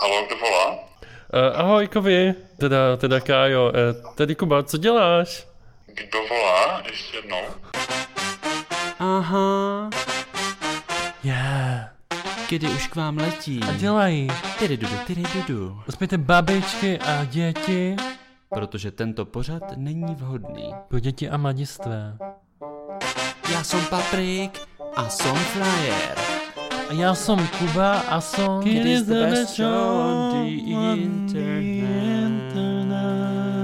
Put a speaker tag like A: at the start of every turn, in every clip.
A: Halo, kdo volá?
B: Eh, ahoj, Kovi, teda, teda Kájo, eh, tady Kuba, co děláš?
A: Kdo volá? Ještě jednou.
C: Aha,
D: Je,
C: kdy už k vám letí.
D: a dělají.
C: Tyry dudu, tyry dudu.
D: Uspějte babičky a děti
C: Protože tento pořad není vhodný.
D: pro děti a mladistvé.
C: Já jsem Paprik a jsem Flyer.
D: A já jsem Kuba a jsem...
C: It is the best show on the internet.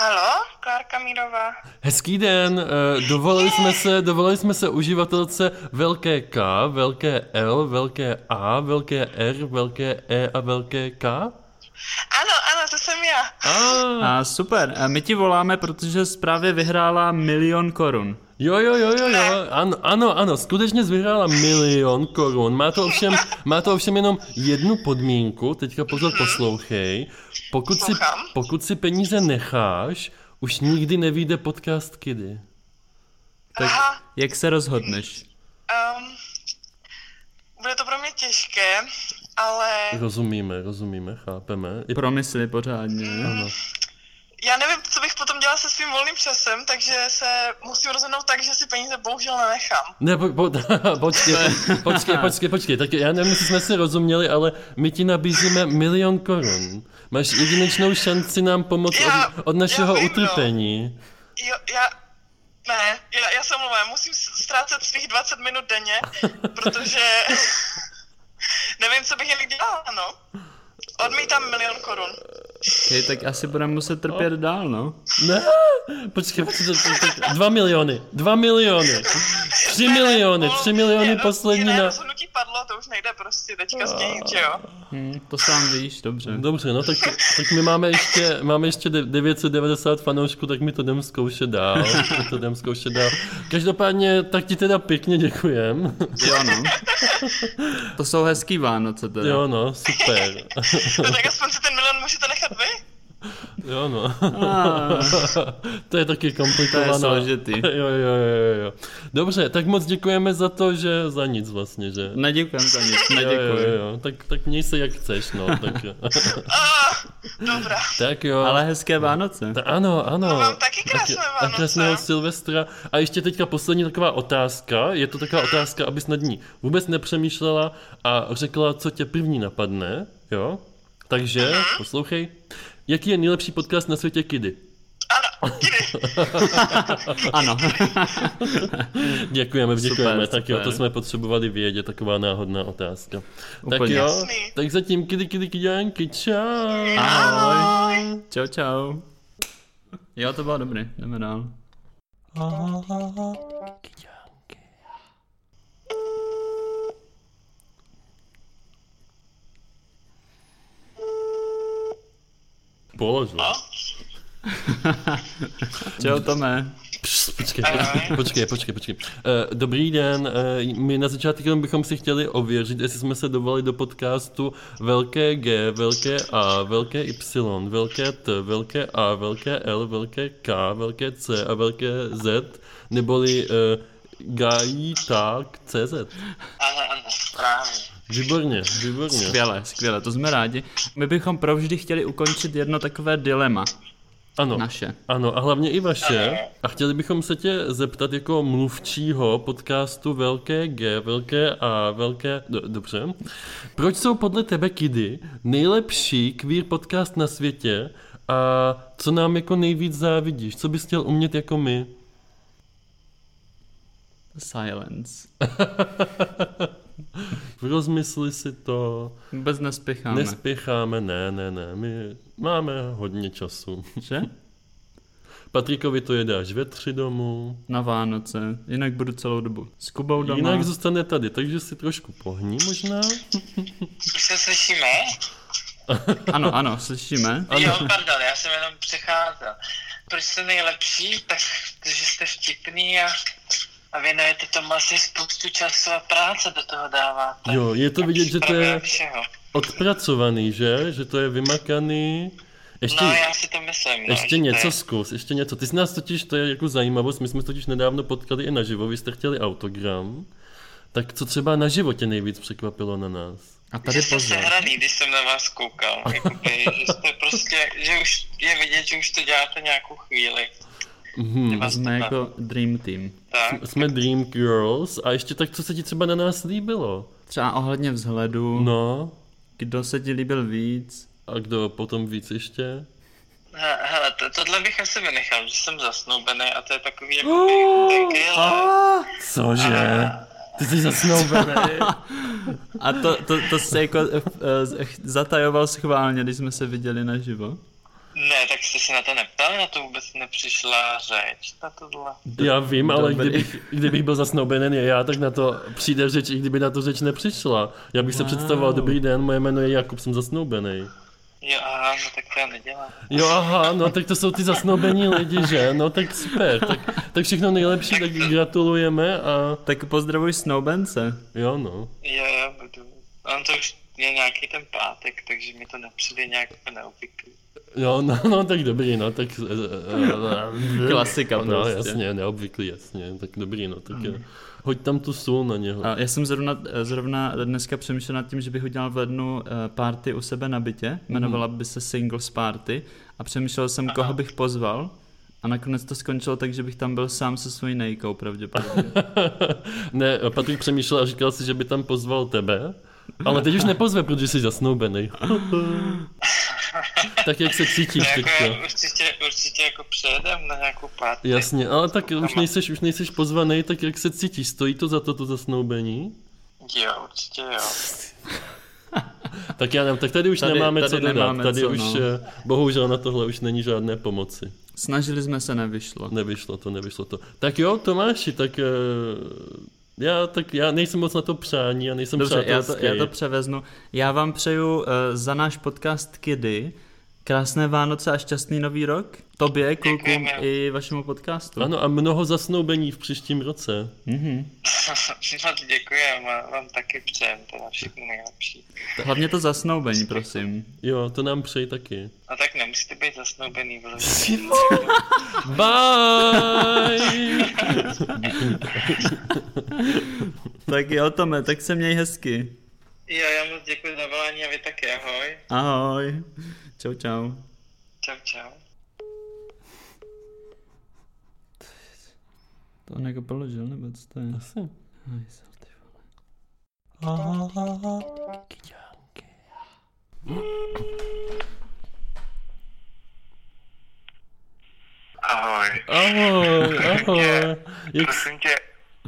E: Halo, Klárka Mírová.
B: Hezký den, eh, dovolili jsme se, dovolili jsme se uživatelce velké K, velké L, velké A, velké R, velké E a velké K?
E: Ano, ano, to jsem já.
B: Ah,
F: A super, a my ti voláme, protože právě vyhrála milion korun.
B: jo, jo, jo, jo, jo, ano, ano, ano, skutečně vyhrála milion korun. Má to ovšem, má to ovšem jenom jednu podmínku, teďka pozor poslouchej. Pokud si,
E: Poslouchám.
B: pokud si peníze necháš, už nikdy nevíde podcast Kiddy.
F: Tak
E: Aha.
F: jak se rozhodneš?
E: Um, bude to pro mě těžké, ale
B: Rozumíme, rozumíme, chápeme. I
F: Promysli pořádně. Ano.
E: já nevím, co bych potom dělala se svým volným časem, takže se musím rozhodnout tak, že si peníze bohužel nenechám.
B: Ne, po, po, počkej, počkej, počkej, počkej, tak já nevím, jestli jsme se rozuměli, ale my ti nabízíme milion korun. Máš jedinečnou šanci nám pomoct
E: Já-
B: od, od našeho
E: já vím, no.
B: utrpení.
E: Jo, já... Ne, já, já se omlouvám, musím s- ztrácet svých 20 minut denně, protože nevím, co bych jinak dělala, no. Odmítám milion korun.
F: Okay, tak asi budeme muset trpět dál, no.
B: Ne, počkej, počkej, počkej, počkej, dva miliony, dva miliony, tři miliony, tři miliony poslední
E: na...
B: na...
E: rozhodnutí padlo, to už nejde prostě teďka změnit, že jo.
F: Hm, to sám víš, dobře.
B: Dobře, no tak, tak my máme ještě, máme ještě de- 990 fanoušků, tak my to jdem zkoušet dál, my to jdem zkoušet dál. Každopádně, tak ti teda pěkně děkujem.
F: Jo, no. To jsou hezký Vánoce teda.
B: Jo no, super.
E: No tak aspoň si ten milion můžete nechat vy.
B: Jo no.
F: A,
B: to je taky komplikované.
F: To je složitý.
B: Jo, jo, jo, jo, jo. Dobře, tak moc děkujeme za to, že za nic vlastně, že?
F: neděkujem za nic,
B: Jo, jo,
F: neděkuji.
B: jo. Tak, tak měj se jak chceš, no. Tak,
E: Dobrá.
B: tak jo.
F: Ale hezké Vánoce.
B: Ta- Ano, ano.
E: No, mám taky krásné
B: A
E: Vánoce.
B: krásného Silvestra. A ještě teďka poslední taková otázka. Je to taková otázka, abys nad ní vůbec nepřemýšlela a řekla, co tě první napadne, jo? Takže,
E: Mhm.
B: poslouchej. Jaký je nejlepší podcast na světě Kidy?
E: Ano, jdi.
F: Ano.
B: Děkujeme, děkujeme.
F: Super,
B: tak jo,
F: super.
B: to jsme potřebovali vědět, taková náhodná otázka. Tak
F: Úplně.
B: jo,
E: Jasný.
B: tak zatím kidy kidy kidy čau.
F: Ahoj. Čau, čau. Jo, to bylo dobrý, jdeme dál.
B: Položil.
F: Čau, Tome.
B: Počkej, počkej, počkej, počkej, počkej. Eh, Dobrý den, eh, my na začátku jenom bychom si chtěli ověřit, jestli jsme se dovolili do podcastu velké G, velké A, velké Y, velké T, velké A, velké L, velké K, velké C a velké Z, neboli eh, Gajitak CZ.
A: Ano, ano, správně.
B: Výborně, výborně.
F: Skvěle, skvěle, to jsme rádi. My bychom provždy chtěli ukončit jedno takové dilema
B: Ano,
F: naše.
B: ano, a hlavně i vaše. A chtěli bychom se tě zeptat jako mluvčího podcastu Velké G, Velké A, Velké... Do, dobře. Proč jsou podle tebe Kidy nejlepší queer podcast na světě a co nám jako nejvíc závidíš? Co bys chtěl umět jako my?
F: Silence.
B: Rozmysli si to,
F: Vůbec nespěcháme.
B: nespěcháme, ne, ne, ne, my máme hodně času.
F: že?
B: Patrikovi to jede až ve tři domů,
F: Na Vánoce, jinak budu celou dobu. S Kubou doma.
B: jinak zůstane tady, takže si trošku pohní možná.
A: Už se slyšíme?
F: Ano, ano, slyšíme.
A: Ano. Jo, pardon, já jsem jenom přecházel. Proč jste nejlepší? Tak, protože jste vtipný a, a věnujete tomu asi spoustu času a práce do toho dáváte.
B: Jo, je to vidět, že to je,
A: Všeho.
B: odpracovaný, že? Že to je vymakaný. Ještě,
A: No, já si to myslím. No, že to
B: ještě
A: je-
B: něco zkus, ještě něco. Ty jsi nás totiž, to je jako zajímavost, my jsme se totiž nedávno potkali i naživo, vy jste chtěli autogram. Tak co třeba na životě nejvíc překvapilo na nás?
F: A tady
A: že jste
F: pozor.
A: sehraný, když jsem na vás koukal. Jakoby, že jste prostě, že už je vidět, že už to děláte nějakou chvíli.
B: Mhm.
A: Vás
F: Jsme
A: to
F: jako Dream Team.
A: tak.
B: Jsme Dream Girls a ještě tak, co se ti třeba na nás líbilo?
F: Třeba ohledně vzhledu, no.
B: No,
F: kdo se ti líbil víc,
B: a kdo potom víc ještě?
A: He- Hele, to, tohle bych asi vynechal, že jsem zasnoubený a to je takový jako taky, ale
B: Cože? Ty jsi zasnoubený.
F: A to, to, to se jako eh, eh, zatajoval schválně, když jsme se viděli naživo.
A: ne, tak jste se na to neptali, na to vůbec nepřišla řeč, na tohle.
B: Já vím, ale
F: Dobrý.
B: kdybych, kdybych byl zasnoubený já, tak na to přijde řeč, i kdyby na to řeč nepřišla. Já bych se
F: Wow.
B: představoval, dobrý den, moje jméno je Jakub, jsem zasnoubený.
A: Jo, aha, no tak to já nedělám.
B: Jo, aha, no tak to jsou ty zasnoubení lidi, že? No tak super, tak, tak všechno nejlepší, tak gratulujeme a
F: Tak pozdravuj Snowbence.
B: jo no.
A: Jo, jo, budu. On to už je nějaký ten pátek, takže mi to nepřijde nějak neobvyklý.
B: Jo, no, no tak dobrý, no tak... eh, eh, eh,
F: Klasika
B: no,
F: prostě.
B: jasně, neobvyklý, jasně, tak dobrý, no tak jo. Hoď tam tu sůl na něho.
F: A já jsem zrovna, eh, zrovna dneska přemýšlel nad tím, že bych udělal v lednu eh, party u sebe na bytě, jmenovala by se Singles Party a přemýšlel jsem, koho bych pozval a nakonec to skončilo tak, že bych tam byl sám se svojí nejkou pravděpodobně.
B: Ne, Patrik přemýšlel a říkal si, že by tam pozval tebe, ale teď už nepozve, protože jsi zasnoubený. tak jak se
A: To
B: cítíš
A: jako
B: teďka?
A: já určitě, určitě jako přejedem na nějakou párty.
B: Jasně, ale tak už nejseš, už nejseš pozvaný, tak jak se cítíš? Stojí to za to, to zasnoubení?
A: Jo, určitě jo.
B: Tak já nevím, tak tady už
F: Tady-
B: nemáme
F: tady
B: co dodat.
F: nemáme
B: tady
F: co,
B: už,
F: no.
B: eh, bohužel na tohle už není žádné pomoci.
F: Snažili jsme se, nevyšlo.
B: Nevyšlo to, nevyšlo to. Tak jo, Tomáši, tak... eh, Já, tak já nejsem moc na to přání a nejsem
F: Dobře, já to,
B: přátelský.
F: já to převeznu. Já vám přeju uh, za náš podcast Kiddy krásné Vánoce a šťastný nový rok. Tobě, klukům
A: Děkujeme.
F: i vašemu podcastu.
B: Ano, a mnoho zasnoubení v příštím roce.
F: Mhm.
A: Moc děkujeme, vám taky přejem teda všechno nejlepší.
F: Hlavně to zasnoubení, prosím.
B: Jo, to nám přeji taky.
A: A tak nemusíte být zasnoubený vyloženě.
B: Bye!
F: Tak jo, Tome, tak se měj hezky.
A: Jo, já moc děkuji za volání a vy taky, ahoj.
F: Ahoj. Čau, čau.
A: Čau, čau.
F: To on jako položil, nebo co to je?
B: Asi.
F: Hajzel, ty vole.
G: Ahoj,
B: Ahoj, ahoj. Jak,
G: prosím tě,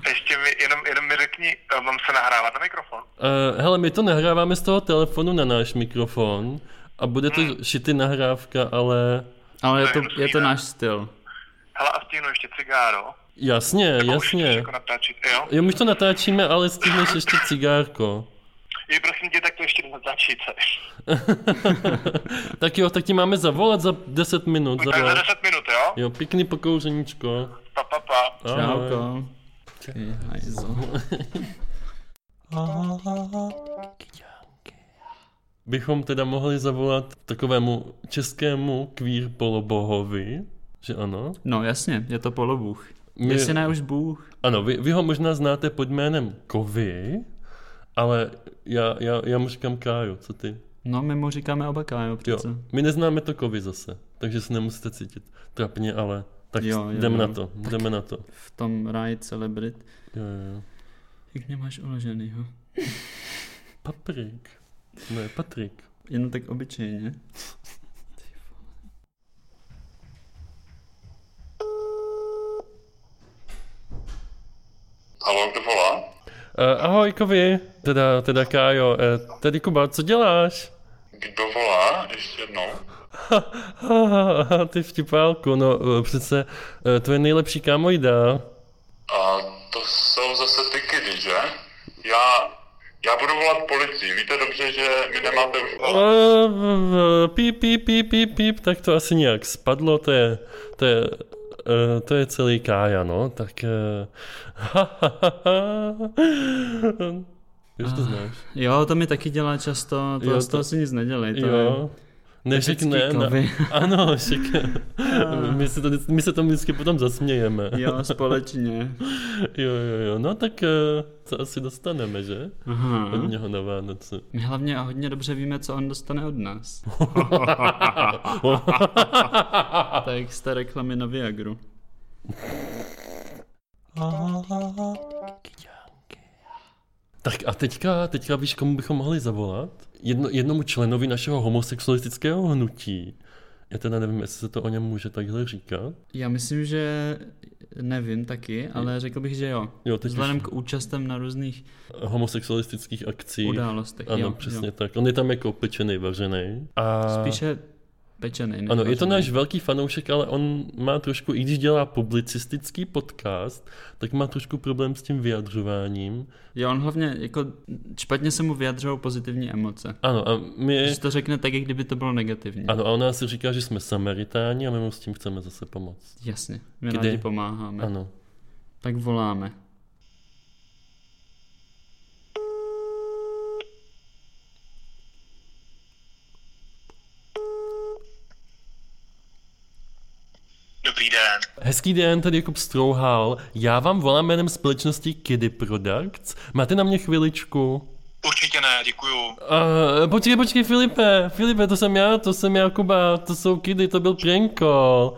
G: ještě mi, jenom, jenom mi řekni, eh, mám se nahrávat na mikrofon?
B: uh, hele, my to nahráváme z toho telefonu na náš mikrofon a bude to šity nahrávka, ale
F: Ale je
G: To je
F: to,
G: hnusný,
F: je to
G: ne?
F: náš styl.
G: Hele, a stihnu ještě cigáro?
B: jasně,
G: Už
B: jasně.
G: jako natáčit, jo?
B: Jo, my už to natáčíme, ale stihneš ještě cigárko.
G: Je prosím tě, tak to ještě natáčit.
B: tak jo, tak ti máme zavolat za 10 minut.
G: Tak za
B: Zavolat.
G: 10 minut, jo?
B: Jo, pěkný pokouřeníčko.
G: Pa, pa, pa.
B: Ahoj.
F: Čauko. Ty hajzel.
B: bychom teda mohli zavolat takovému českému kvír polobohovi, že ano?
F: No jasně, je to polobůh.
B: My,
F: Jestli ne už Bůh.
B: Ano, vy, vy ho možná znáte pod jménem Kovy, ale já, já, já mu říkám Káju, co ty?
F: No, my mu říkáme oba Kájo
B: Jo,
F: přece.
B: my neznáme to Kovy zase, takže se nemusíte cítit trapně, ale tak
F: Jo, jo,
B: jdeme
F: jo.
B: na to, jdeme na to.
F: v tom ráji celebrit.
B: Jo, jo, jo.
F: Jak nemáš uloženýho?
B: Paprik. Ne, Patrik.
F: Jenom tak obyčejně.
G: Halo, kdo volá?
B: Uh, ahoj Kovy, teda, teda Kájo, uh, tady Kuba, co děláš?
G: Kdo volá? Ještě jednou.
B: Haha, ty vtipálku, no eh, přece eh, tvoje nejlepší kámo jídá.
G: A to jsou zase ty kidy, že? Já, já budu volat policii. Víte dobře, že mi nemáte už volat.
B: Eh, Píp, píp, píp, píp, píp, tak to asi nějak spadlo, to je, to je, eh, to je celý Kája, no, tak eh, ha, ha, ha, ha. Ty už
F: Ah,
B: to znáš.
F: Jo, to mi taky dělá často, to,
B: Jo,
F: jo,
B: to-
F: to... si nic nedělej, to
B: Jo. Neřekne.
F: řecký
B: Na...
F: kovy.
B: Ano, šik. My se, to, my se tomu vždycky potom zasmějeme.
F: je... Jo, společně.
B: jo, jo, jo. No tak eh, co asi dostaneme, že?
F: Aha.
B: Od něho na Vánoce.
F: My hlavně a hodně dobře víme, co on dostane od nás. tak z té reklamy na Viagru.
B: Tak a teďka, teďka víš, komu bychom mohli zavolat? Jedno, jednomu členovi našeho homosexualistického hnutí. Já teda nevím, jestli se to o něm může takhle říkat.
F: Já myslím, že nevím taky, ale řekl bych, že jo.
B: Jo, teď
F: Vzhledem
B: už-
F: k účastem na různých
B: Homosexualistických akcí.
F: událostech.
B: Ano,
F: jo,
B: přesně
F: Jo.
B: tak. On je tam jako pečený, vařený. A...
F: Spíše pečený. než
B: Ano, je to
F: vařený.
B: náš velký fanoušek, ale on má trošku, i když dělá publicistický podcast, tak má trošku problém s tím vyjadřováním.
F: Jo, on hlavně, jako, špatně se mu vyjadřují pozitivní emoce.
B: Ano, a my...
F: Že to řekne tak, jak kdyby to bylo negativní.
B: Ano, a ona si říká, že jsme samaritáni a my mu s tím chceme zase pomoct.
F: Jasně, my
B: Kdy?
F: Kdy? rádi pomáháme.
B: Ano.
F: Tak voláme.
A: Dobrý den.
B: Hezký den, tady Jakub Strouhal. Já vám volám jménem společnosti Kiddy Products. Máte na mě chviličku?
A: Určitě ne, děkuju.
B: Uh, počkej, počkej, Filipe, Filipe, to jsem já, to jsem já, Kuba, to jsou Kiddy, to byl prank call.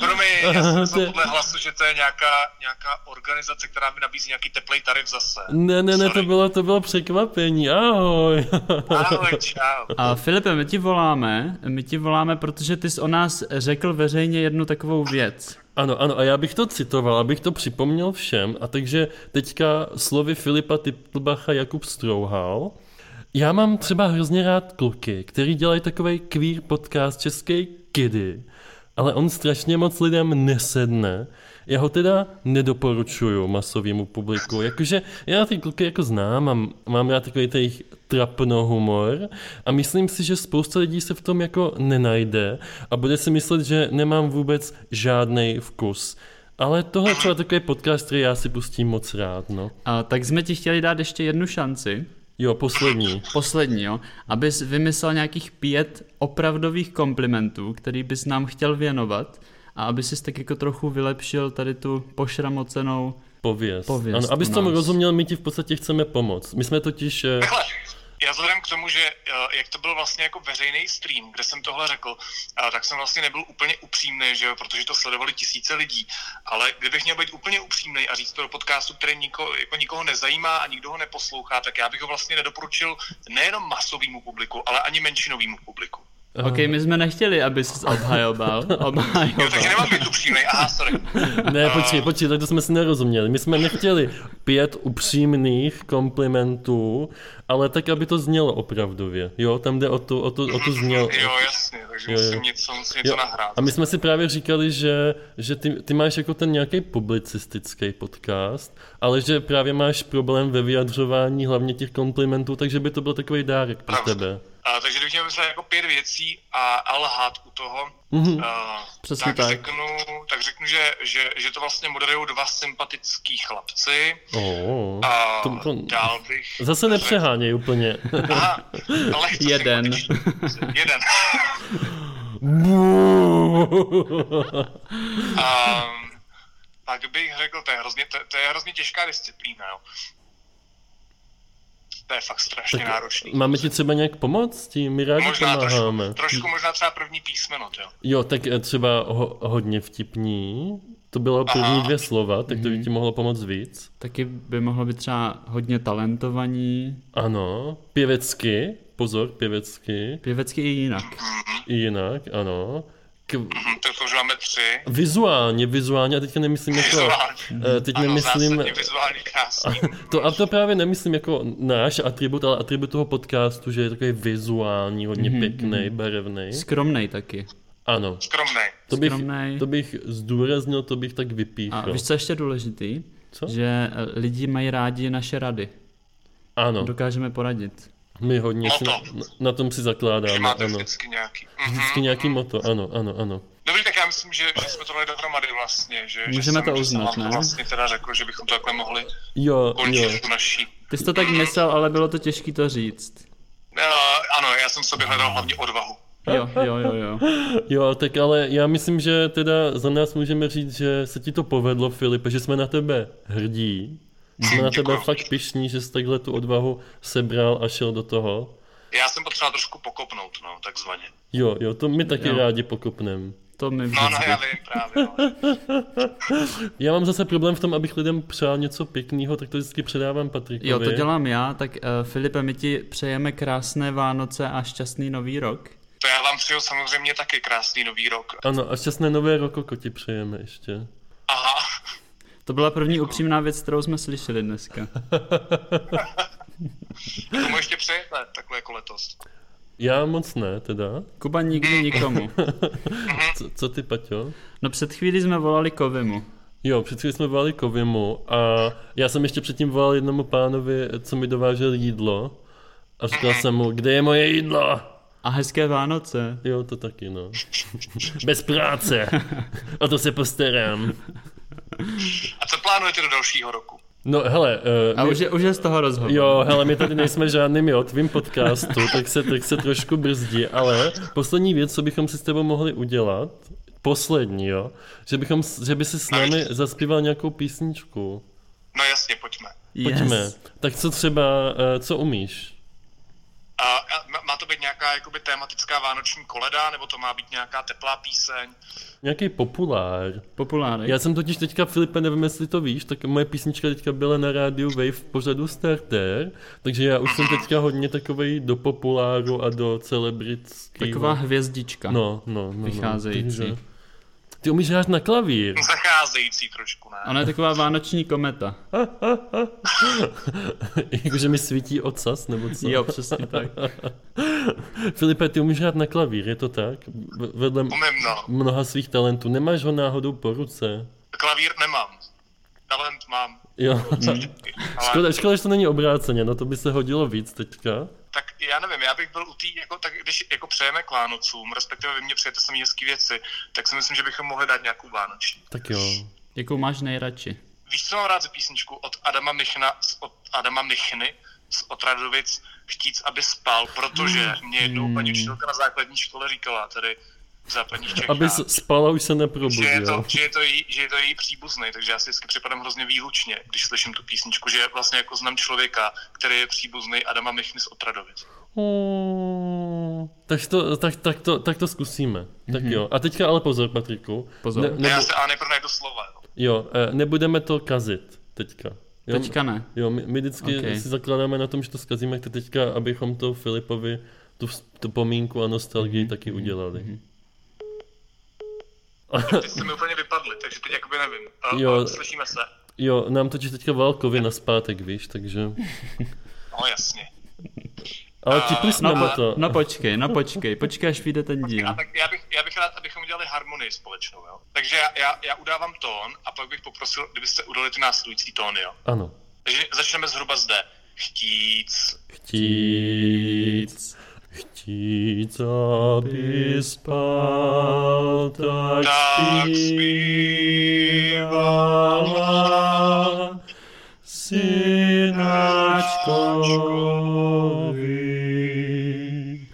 A: Promiň, já jsem
B: To
A: myslel
B: je-
A: podle hlasu, že to je nějaká, nějaká organizace, která mi nabízí nějaký teplej tarif zase.
B: Ne, ne, ne, to
A: Sorry.
B: bylo, to bylo překvapení, ahoj.
A: Ahoj, čau.
F: A Filipe, my ti voláme, my ti voláme, protože ty jsi o nás řekl veřejně jednu takovou věc.
B: Ano, ano, a já bych to citoval, abych to připomněl všem. A takže teďka slovy Filipa Titlbacha Jakub Strouhal. Já mám třeba hrozně rád kluky, který dělají takový queer podcast české kidy, ale on strašně moc lidem nesedne. Já ho teda nedoporučuju masovému publiku. Jakože já ty kluky jako znám, mám, mám rád takový ten jejich trapno humor a myslím si, že spousta lidí se v tom jako nenajde a bude si myslet, že nemám vůbec žádný vkus. Ale tohle je třeba takový podcast, který já si pustím moc rád, no.
F: A tak jsme ti chtěli dát ještě jednu šanci,
B: Jo, poslední.
F: poslední, jo, abys vymyslel nějakých pět opravdových komplimentů, který bys nám chtěl věnovat a aby jsi tak jako trochu vylepšil tady tu pošramocenou...
B: Pověz.
F: Pověz
B: ano, abys
F: o
B: tomu
F: nás.
B: rozuměl, my ti v podstatě chceme pomoct. My jsme totiž... eh,
A: Takhle, já vzhledem k tomu, že eh, jak to byl vlastně jako veřejný stream, kde jsem tohle řekl, eh, tak jsem vlastně nebyl úplně upřímný, že jo, protože to sledovali tisíce lidí. Ale kdybych měl být úplně upřímný a říct to do podcastu, který niko, jako nikoho nezajímá a nikdo ho neposlouchá, tak já bych ho vlastně nedoporučil nejenom masovému publiku, ale ani menšinovému publiku.
F: Ok, my jsme nechtěli, abys obhajoval,
A: Jo, takže
F: obhajoval.
A: nemám být upřímný. Aha, sorry.
B: Ne, počkej, počkej, tak to jsme si nerozuměli. My jsme nechtěli pět upřímných komplimentů, ale tak, aby to znělo opravdově. Jo, tam jde o tu, o tu, o tu zněl.
A: Jo, jasně, takže
B: Jo, jo.
A: musím něco, musím
B: Jo,
A: něco nahrát.
B: a my jsme si právě říkali, že, že ty, ty máš jako ten nějaký publicistický podcast, ale že právě máš problém ve vyjadřování hlavně těch komplimentů, takže by to byl takový dárek pro
A: Pravda.
B: tebe.
A: A, takže kdybych měl myslet jako pět věcí a, a lhát u toho,
B: Mhm.
A: a,
F: Přesně
A: tak,
F: tak.
A: Řeknu, tak řeknu, že, že, že to vlastně moderují dva sympatický chlapci.
B: Oh,
A: A
B: to, to,
A: dál bych...
B: zase nepřeháněj úplně.
A: Aha, lehce
F: Jeden.
A: sympatičtí. Jeden. A, tak bych řekl, to je hrozně, to, to je hrozně těžká disciplína, jo. To je fakt strašně
B: Tak
A: náročný.
B: Máme ti třeba nějak pomoct? Tím my rádi
A: Možná
B: pomáháme.
A: trošku, trošku možná třeba první písmeno, jo.
B: Jo, tak eh, třeba ho, hodně vtipní. To bylo první
A: Aha.
B: dvě slova, tak
F: Mhm.
B: to by ti mohlo pomoct víc.
F: Taky by mohlo být třeba hodně talentovaní,
B: Ano, pěvecky, pozor, pěvecky,
F: pěvecky i jinak.
B: i jinak, ano. K,
A: Hm, tak to už máme tři.
B: vizuálně, vizuálně, a teďka nemyslím jako...
A: Vizuálně.
B: eh, Teď
A: Ano,
B: nemyslím...
A: zásadně vizuálně krásný.
B: To, a to právě nemyslím jako náš atribut, ale atribut toho podcastu, že je takový vizuální, hodně
F: Mhm,
B: pěkný, barevný.
F: Skromnej taky.
B: Ano,
A: Skromnej.
B: to bych,
F: Skromnej.
B: to bych zdůraznil, to bych tak vypíchl.
F: A víš, co je ještě důležitý?
B: Co?
F: Že eh, lidi mají rádi naše rady.
B: Ano,
F: Dokážeme poradit.
B: my hodně si na,
A: Moto.
B: na tom si
A: Že
B: zakládáme,
A: máte
B: ano.
A: vždycky nějaký. Mhm.
B: Vždycky nějaký moto, ano, ano, ano.
A: Dobrý, tak já myslím, že, že jsme to dali dohromady vlastně. Že,
F: Můžeme
A: že jsem,
F: to
A: že jsem
F: uznat,
A: vám
F: ne?
A: Vlastně teda řekl, že bychom to takhle mohli
B: Jo, jo.
A: končit tu naší
F: Ty jsi to tak myslel, ale bylo to těžké to říct.
A: Eh, ano, já jsem v sobě hledal hlavně odvahu.
F: Jo, jo, jo, jo.
B: Jo, tak ale já myslím, že teda za nás můžeme říct, že se ti to povedlo, Filipe, že jsme na tebe hrdí. Jsme na tebe
A: Děkuju.
B: fakt pišní, že jsi takhle tu odvahu sebral a šel do toho.
A: Já jsem potřeboval trošku pokopnout, no, takzvaně.
B: Jo, jo, to my taky
F: Jo.
B: rádi pokopneme.
F: To mi
A: No, no,
F: vždycky.
A: já vím právě, no.
B: Já mám zase problém v tom, abych lidem přál něco pěkného, tak to vždycky předávám Patrikovi.
F: Jo, to dělám já, tak uh, Filipe, my ti přejeme krásné Vánoce a šťastný nový rok.
A: To já vám přeju samozřejmě taky krásný nový rok.
B: Ano, a šťastné nové roko ti přejeme ještě.
A: Aha,
F: To byla první upřímná věc, kterou jsme slyšeli dneska.
A: tomu ještě přejete, takhle jako letos.
B: Já moc ne, teda.
F: Kuba nikdy nikomu.
A: Mhm.
B: Co, co ty, Paťo?
F: No před chvílí jsme volali Kovimu.
B: Jo, před chvílí jsme volali Kovimu a já jsem ještě předtím volal jednomu pánovi, co mi dovážel jídlo a říkal jsem mu, kde je moje jídlo?
F: A hezké Vánoce.
B: Jo, to taky, no. Bez práce. O to se postarám.
A: A co plánujete do dalšího roku?
B: No, hele, uh,
F: A už je, už je z toho rozhovor.
B: Jo, hele, my tady nejsme žádným jo, tvým podcastu, tak se, tak se trošku brzdí, ale poslední věc, co bychom si s tebou mohli udělat, poslední, jo, že, bychom, s- že by si s námi zaspíval nějakou písničku.
A: No jasně, pojďme.
B: Pojďme.
F: Yes.
B: Tak co třeba, eh, co umíš?
A: A, a má- má to být nějaká jakoby tématická vánoční koleda, nebo to má být nějaká teplá píseň?
B: Nějaký populár.
F: Populárek.
B: Já jsem totiž teďka, Filipe, nevím, jestli to víš, tak moje písnička teďka byla na rádiu Wave v pořadu Starter, takže já už jsem teďka hodně takovej do populáru a do celebritského.
F: Taková hvězdička.
B: No, no, no.
F: Vycházející.
B: No, takže- ty umíš hrát na klavír.
A: Zacházející trošku, ne?
F: Ona je taková vánoční kometa.
B: Jakože mi svítí ocas, nebo co?
F: Jo, přesně tak.
B: Filipe, ty umíš hrát na klavír, je to tak? V- Vedle m-
A: Umím, no.
B: mnoha svých talentů. Nemáš ho náhodou po ruce?
A: Klavír nemám. Talent mám.
B: Jo.
F: Mhm.
A: Ale
B: Škoda, škoda, že to není obráceně, no to by se hodilo víc teďka.
A: tak já nevím, já bych byl u té, jako, tak když jako přejeme k Vánocům, respektive vy mě přejete samý hezký věci, tak si myslím, že bychom mohli dát nějakou vánoční.
B: Tak jo.
F: Jakou máš nejradši?
A: Víš, co mám rád za písničku od Adama Michna, z, od Adama Michny z Otradovic Chtíc, aby spal, protože mě jednou paní učitelka na základní škole říkala, tady v západních Čechách,
B: Aby s- spala už se
A: že, je to,
B: neprobudil.
A: že, je to její, že je to její příbuzný, takže já si vždycky připadám hrozně výlučně, když slyším tu písničku, že vlastně jako znám člověka, který je příbuzný Adama Michny z Otradovic.
B: Hmm. Tak to, tak, tak, to, tak to zkusíme. Tak jo. A teďka ale pozor, Patriku.
F: Mhm. Pozor.
A: Ne,
B: nebo,
A: já se a nejprve najdu slova. jo.
B: jo, eh, nebudeme to kazit teďka. Jo,
F: Teďka ne.
B: Jo, my, my vždycky
F: Ok.
B: okay. si zakládáme na tom, že to zkazíme, jak to teďka, abychom to Filipovi, tu, vz- tu pomínku a nostalgii
F: Mhm.
B: mm-hmm. taky udělali. Mm-hmm.
A: Teď jste mi úplně vypadli, takže teď jakoby nevím. A,
B: Jo.
A: a slyšíme se.
B: Jo, nám totiž teďka Valkovi na zpátek, víš, takže...
A: No jasně.
B: Ale
A: Eh,
B: tipli jsme
F: No,
B: mu
F: po,
B: to.
F: no počkej, no počkej, počkej, až vyjde ten díl.
A: A tak já bych, já bych rád, abychom udělali harmonii společnou, jo? Takže já, já, já udávám tón a pak bych poprosil, kdybyste udali ty následující tóny, jo?
B: Ano.
A: Takže začneme zhruba zde. Chtíc.
B: Chtít, chtít, aby spal, tak
A: Tak
B: zpívala synačkovi.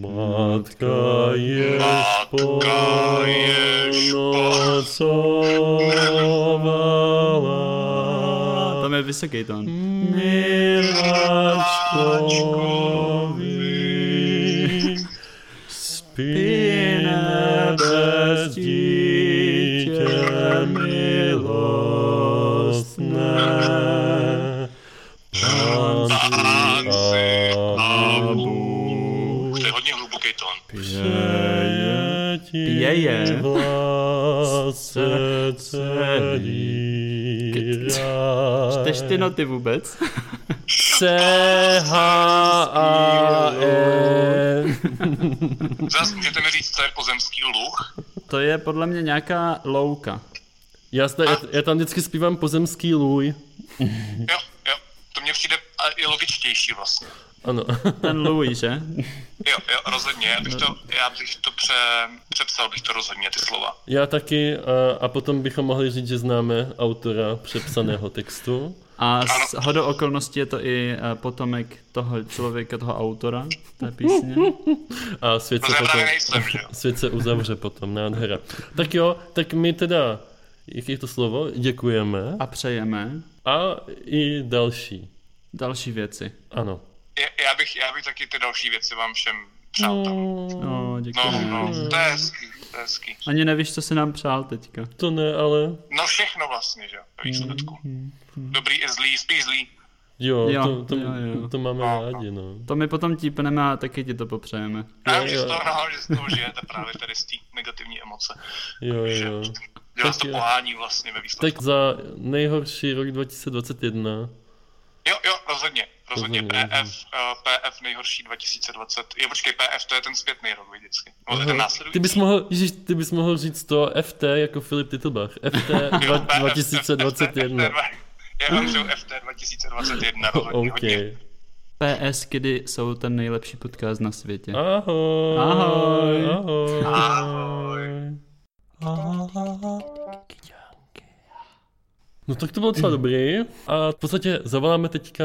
B: Matka je
A: Matka jež
B: ponocovala.
F: Tam je vysoký tón.
B: Miláčkovi spíne bez dítě milostné. Pán
A: Anzi,
B: a
A: To je hodně hluboký tón.
B: přeje ti
F: Pěje.
B: vlase celý
F: Čteš ty
B: ráj.
F: noty vůbec?
B: C-H-A-N.
A: Zas můžete mi říct, co je pozemský luch?
F: To je podle mě nějaká louka.
B: Já, sta- já, já tam vždycky zpívám pozemský lůj.
A: Jo, jo. To mně přijde a, i logičtější vlastně.
B: Ano.
F: Ten Louis, že?
A: Jo, jo, rozhodně. Já bych to, já bych to pře, přepsal, bych to rozhodně, ty slova.
B: Já taky a, a potom bychom mohli říct, že známe autora přepsaného textu.
F: A z hodou okolností je to i eh, potomek toho člověka, toho autora té písně.
B: A svět se
A: Protože
B: potom,
A: právě nejsem, že jo.
B: svět se uzavře potom, nádhera. Tak jo, tak my teda, jak je to slovo, děkujeme
F: A přejeme
B: a i další.
F: další věci.
B: Ano.
A: Je- Já bych, já bych taky ty další věci vám všem přál
B: Mm.
A: tam.
F: No,
A: No,
F: děkujeme.
A: no, to je hezký, to je hezký.
F: Ani nevíš, co se nám přál teďka.
B: To ne, ale
A: No všechno vlastně, že jo, ve výsledku.
B: Mm-hmm.
A: Dobrý i zlý, spíš zlý.
B: jo,
F: Jo,
B: to, to,
F: jo, jo.
B: to máme rádi, no.
F: To my potom típneme a taky ti to popřejeme.
A: Já
B: Jo,
A: vím, že
B: jo.
A: z toho, no, že z toho žijete právě tady z té negativní emoce.
B: Jo, jo.
A: Že vás to
B: jo.
A: pohání vlastně ve výsledku.
B: Tak za nejhorší rok 2021.
A: Jo, jo, rozhodně. Rozhodně
B: Rozhodně,
A: PF, eh, PF nejhorší 2020. Jo, počkej, PF to je ten zpětný rok vždycky. No, to je ten následující.
B: Ty bys mohl, ježiš, ty bys mohl říct to FT jako Filip Titlbach. FT dva-
A: Jo, PF,
B: 2021.
A: FT, Já vám přeju FT 2021 rozhodně
B: OK.
A: no, hodně.
F: PS, kdy jsou ten nejlepší podcast na světě.
B: Ahoj.
F: Ahoj.
B: Ahoj. No tak to bylo docela dobrý. A v podstatě zavoláme teďka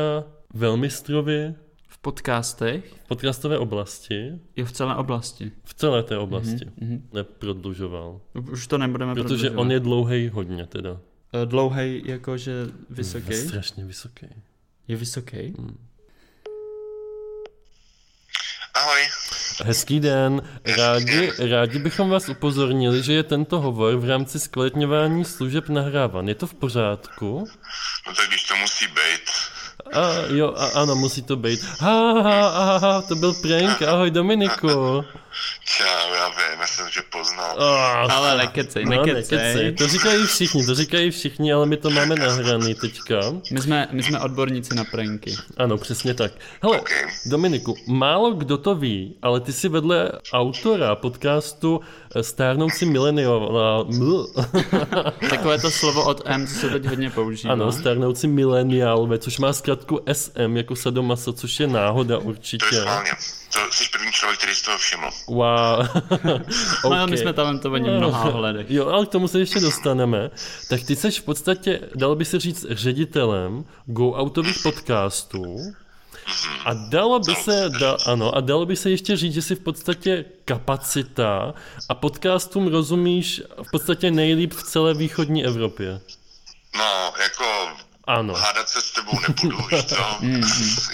B: velmistrovi
F: V podcastech
B: v podcastové oblasti.
F: je v celé oblasti.
B: V celé té oblasti. Neprodlužoval.
F: Už to nebudeme
B: Protože on je dlouhý hodně teda.
F: dlouhý, Eh, jakože vysoký.
B: Strašně vysoký.
F: Je vysoký?
B: Hmm.
A: Ahoj.
B: Hezký den. Rádi, rádi bychom vás upozornili, že je tento hovor v rámci zkvalitňování služeb nahrávan. Je to v pořádku?
G: No tak když to musí být.
B: A, jo, a, ano, musí to být. Ha, ha, ha, ha, to byl prank. Ahoj Dominiku.
G: Čau, já vím, já jsem že poznal.
B: Ah,
F: Ale nekecej,
B: no,
F: nekecej.
B: nekecej. To říkají všichni, to říkají všichni, ale my to máme nahraný teďka.
F: My jsme, my jsme odborníci na pranky.
B: Ano, přesně tak. Hele, Dominiku, málo kdo to ví, ale ty jsi vedle autora podcastu eh, Stárnoucí mileniál...
F: Takové to slovo od M, co se teď hodně používá.
G: Mhm.
B: Ano, stárnoucí mileniálové, což má zkrátku SM jako sadomaso, což je náhoda
G: To je
B: určitě.
G: schválně. To jsi první člověk, který si toho všiml.
B: Wow.
F: no,
B: Ok.
F: my jsme talentovaní v mnoha ohledech.
B: Eh. Jo, ale k tomu se ještě dostaneme. Tak ty jsi v podstatě, dalo by se říct, ředitelem go-outových podcastů. A dalo by se, da, ano, a dalo by se ještě říct, že jsi v podstatě kapacita a podcastům rozumíš v podstatě nejlíp v celé východní Evropě.
G: No, jako
B: Ano.
G: hádat se s tebou nebudu, víš co?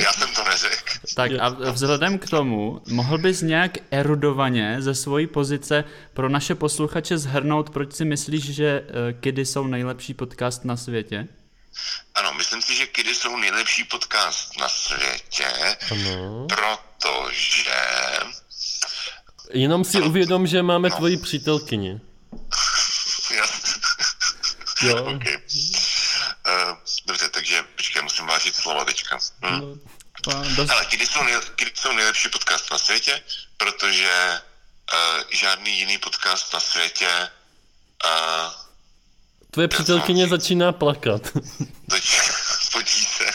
G: já jsem to neřekl.
F: Tak a vzhledem k tomu, mohl bys nějak erudovaně ze svojí pozice pro naše posluchače zhrnout, proč si myslíš, že eh, Kidy jsou nejlepší podcast na světě?
G: Ano, myslím si, že Kidy jsou nejlepší podcast na světě,
B: No.
G: protože...
B: Jenom si uvědom, že máme tvoji přítelkyni.
G: Já...
B: Jo.
G: okay. uh, dobře, takže počkej, musím vážit slova teďka. Hm.
F: Pa- Dost...
G: Ale Kidy jsou, nej... Kidy jsou nejlepší podcast na světě, protože uh, žádný jiný podcast na světě uh,
B: Tvoje přítelkyně začíná plakat.
G: Toč- Potí se.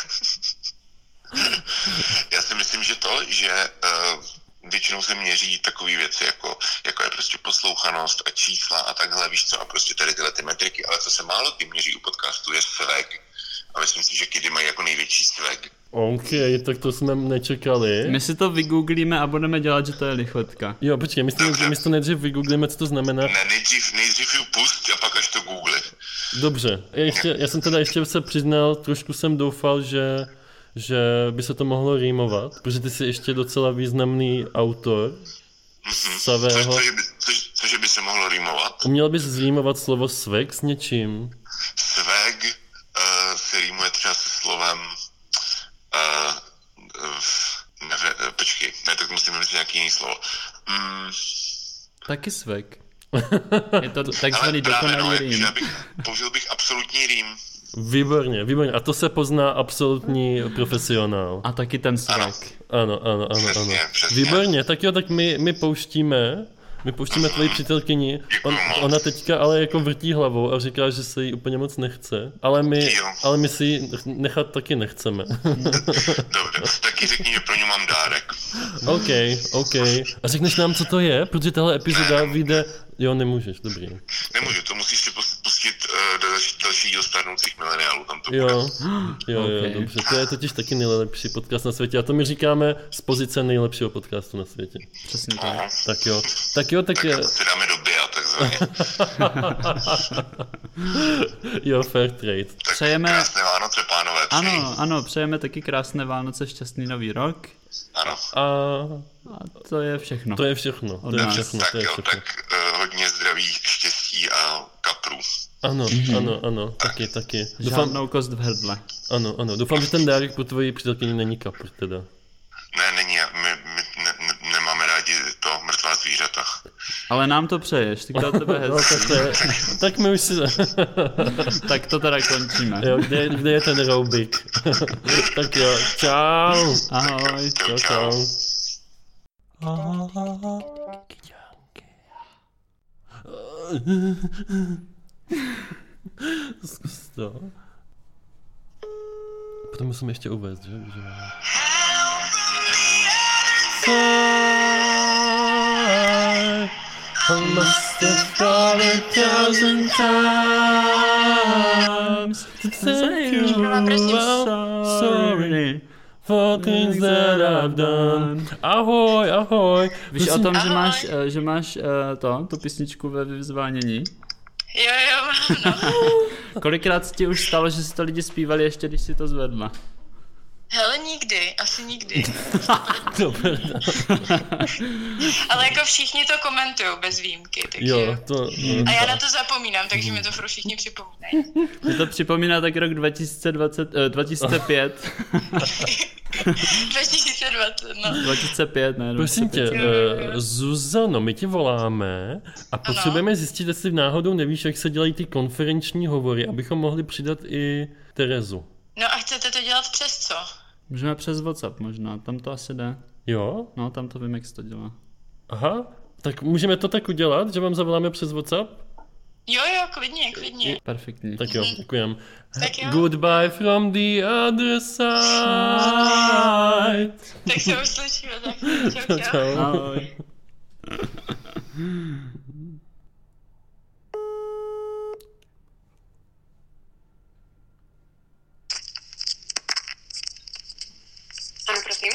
G: Já si myslím, že to, že uh, většinou se měří takové věci, jako, jako je prostě poslouchanost a čísla a takhle, víš co, a prostě tady tyhle ty metriky, ale co se málo kdy měří u podcastu je swag. A myslím si, že kidy mají jako největší swag.
B: OK, tak to jsme nečekali.
F: My si to vygooglíme a budeme dělat, že to je lichotka.
B: Jo, počkej, my si, to, my si to nejdřív vygooglíme, co to znamená.
G: Ne, nejdřív, nejdřív ju pust a pak až to google.
B: Dobře, já, ještě, já jsem teda ještě se přiznal, trošku jsem doufal, že, že by se to mohlo rýmovat, protože ty jsi ještě docela významný autor
G: Což,
B: psavého.
G: což, by, což, což by se mohlo rýmovat.
B: Uměl bys zrýmovat slovo svek s něčím?
G: Svag uh, se rýmuje třeba se slovem uh, neve, eh, počkej, ne, tak musím vymyslet nějaký jiný slovo. Mm,
F: Taky svek. Je to
G: ale
F: takzvaný
G: právě no,
F: dokonalý
G: jakože
F: rým.
G: já bych, použil bych absolutní rým.
B: Výborně, výborně. A to se pozná absolutní profesionál.
F: A taky ten svek.
B: Ano, ano, ano, ano.
G: Přesně, přesně.
B: Výborně, tak jo, tak my, my pouštíme, my pouštíme tvoji přítelkyni. On,
G: Děkuju moc.
B: ona teďka ale jako vrtí hlavou a říká, že se jí úplně moc nechce, ale my,
G: Jo.
B: ale my si ji nechat taky nechceme.
G: Dobře, taky řekni, že pro ně mám dárek.
B: OK, OK. A řekneš nám, co to je? Protože tahle epizoda vyjde... Jo, nemůžeš, dobrý.
G: Nemůžu, to musíš si pus- pustit uh, eh, do další- dalšího starnoucích mileniálů tam to bude.
B: Jo, jo,
F: Ok.
B: jo, dobře. To je totiž taky nejlepší podcast na světě. A to my říkáme z pozice nejlepšího podcastu na světě.
F: Přesně tak.
G: Aha.
B: Tak jo, tak jo, tak
G: Tak
B: jo.
G: jako si dáme do bia, takzvaně.
B: jo, fair trade.
G: Tak
F: Přejeme-
G: krásné Vánoce, pánové. přeji.
F: Ano, ano, přejeme taky krásné Vánoce, šťastný nový rok.
G: ano.
B: A
F: A to je všechno.
B: to je všechno, to je
F: nás.
B: všechno,
G: tak
B: to je
G: jo,
B: všechno.
G: tak eh, hodně zdraví, štěstí a kaprů.
B: Ano,
G: Mhm.
B: ano, ano, taky, taky. Doufám,
F: Žádnou kost v hrdle.
B: ano, ano, doufám, že ten dárek pro tvoji přítelkyni není kapr, teda.
G: Ne, není, my, my ne, ne, nemáme rádi to mrtvá zvířata.
F: Ale nám to přeješ, tak to je od tebe
B: No, tak,
F: hezký.
B: to je, tak my už si...
F: Tak to teda končíme.
B: jo, kde, kde je ten roubik? tak jo, čau.
F: Ahoj.
B: Čau, čau. Zkus to. Potom musím ještě uvést, že? že... I must have thought a thousand times to thank you. I'm sorry for things that I've done. Ahoj, ahoj.
F: Víš o tom, že
E: Ahoj.
F: máš, eh, že máš eh, to, tu písničku ve vyzvánění?
E: Jo, jo, no.
F: Kolikrát se ti už stalo, že si to lidi zpívali ještě, když si to zvedla?
E: Hele, nikdy, asi nikdy.
B: Dobře.
E: Ale jako všichni to komentují bez výjimky, takže...
B: Jo, to...
E: A já na to zapomínám, takže mi to furt všichni připomínají.
F: Mě to připomíná tak rok 2020, eh, 2005.
E: 2020, no.
F: 2005, ne?
B: Prosím tě,
F: 2005.
B: eh, Zuzano, my ti voláme a potřebujeme zjistit, jestli náhodou nevíš, jak se dělají ty konferenční hovory, abychom mohli přidat i Terezu.
E: No a chcete to dělat přes co?
F: Můžeme přes WhatsApp možná, tam to asi jde.
B: Jo?
F: No, tam to vím, jak se to dělá.
B: Aha. Tak můžeme to tak udělat, že vám zavoláme přes WhatsApp?
E: Jo, jo, klidně, klidně.
F: Perfektní.
B: Tak jo, děkujem.
E: Mhm. Tak jo.
B: Goodbye from the other side.
E: Tak se uslyšíme, tak čau, čau.
B: Čau.
F: Ahoj.
E: Ano, prosím.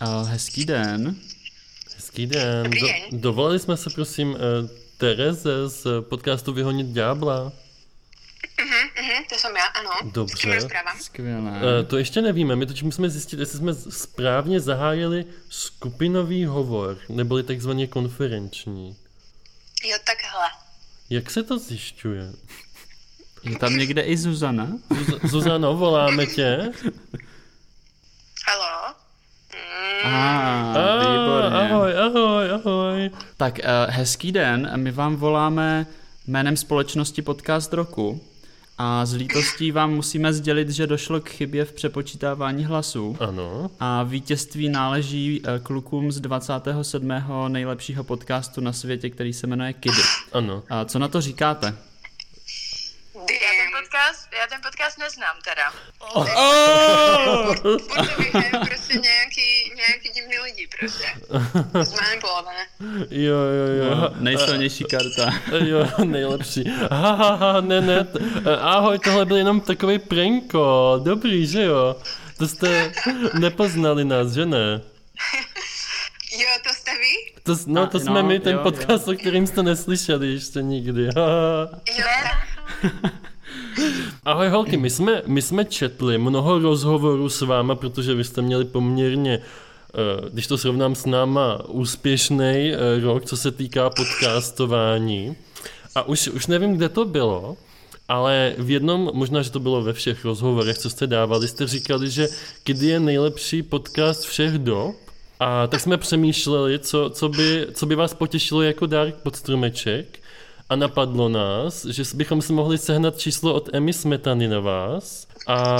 F: A Eh, hezký den.
B: Hezký den.
E: Dobrý
B: Do,
E: den.
B: dovolali jsme se, prosím, eh, Tereze z eh, podcastu Vyhonit ďábla.
E: Mhm, mhm, to jsem já, ano.
B: Dobře.
F: Skvělé.
B: Eh, To ještě nevíme, my totiž musíme zjistit, jestli jsme správně zahájili skupinový hovor, neboli takzvaně konferenční.
E: Jo, takhle.
B: Jak se to zjišťuje?
F: Je tam někde i Zuzana?
B: Zuz- Zuzano, voláme tě.
E: Halo?
F: Ah,
B: Ah,
F: výborně.
B: ahoj, ahoj, ahoj.
F: Tak eh, hezký den, my vám voláme jménem společnosti Podcast Roku a s lítostí vám musíme sdělit, že došlo k chybě v přepočítávání hlasů
B: Ano,
F: a vítězství náleží eh, klukům z 27. nejlepšího podcastu na světě, který se jmenuje Kidy.
B: ano.
F: A co na to říkáte?
E: Já ten podcast, já ten podcast neznám teda.
H: Podle mě je prostě nějaký, nějaký divný lidi prostě. Zmanipulované.
B: Jo, jo, jo.
F: No, Nejsilnější karta.
B: eh, Jo, nejlepší. Ha, ha, ha, ne, ne. t- eh, Ahoj, tohle byl jenom takový pranko. Dobrý, že jo? To jste nepoznali nás, že ne?
H: Jo, to jste vy?
B: To, s- no,
F: A-
B: to
F: no,
B: jsme my, ten
F: jo,
B: podcast, o kterým jste neslyšeli ještě nikdy. Ha, ha.
H: Jo, tak.
B: Ahoj holky, my jsme, my jsme četli mnoho rozhovorů s váma, protože vy jste měli poměrně, eh, když to srovnám s náma, úspěšný rok, co se týká podcastování. A už, už nevím, kde to bylo, ale v jednom, možná, že to bylo ve všech rozhovorech, co jste dávali, jste říkali, že Kdy je nejlepší podcast všech dob. A tak jsme přemýšleli, co, co, by, co by vás potěšilo jako dárek pod stromeček. A napadlo nás, že bychom si mohli sehnat číslo od Emmy Smetany na vás a,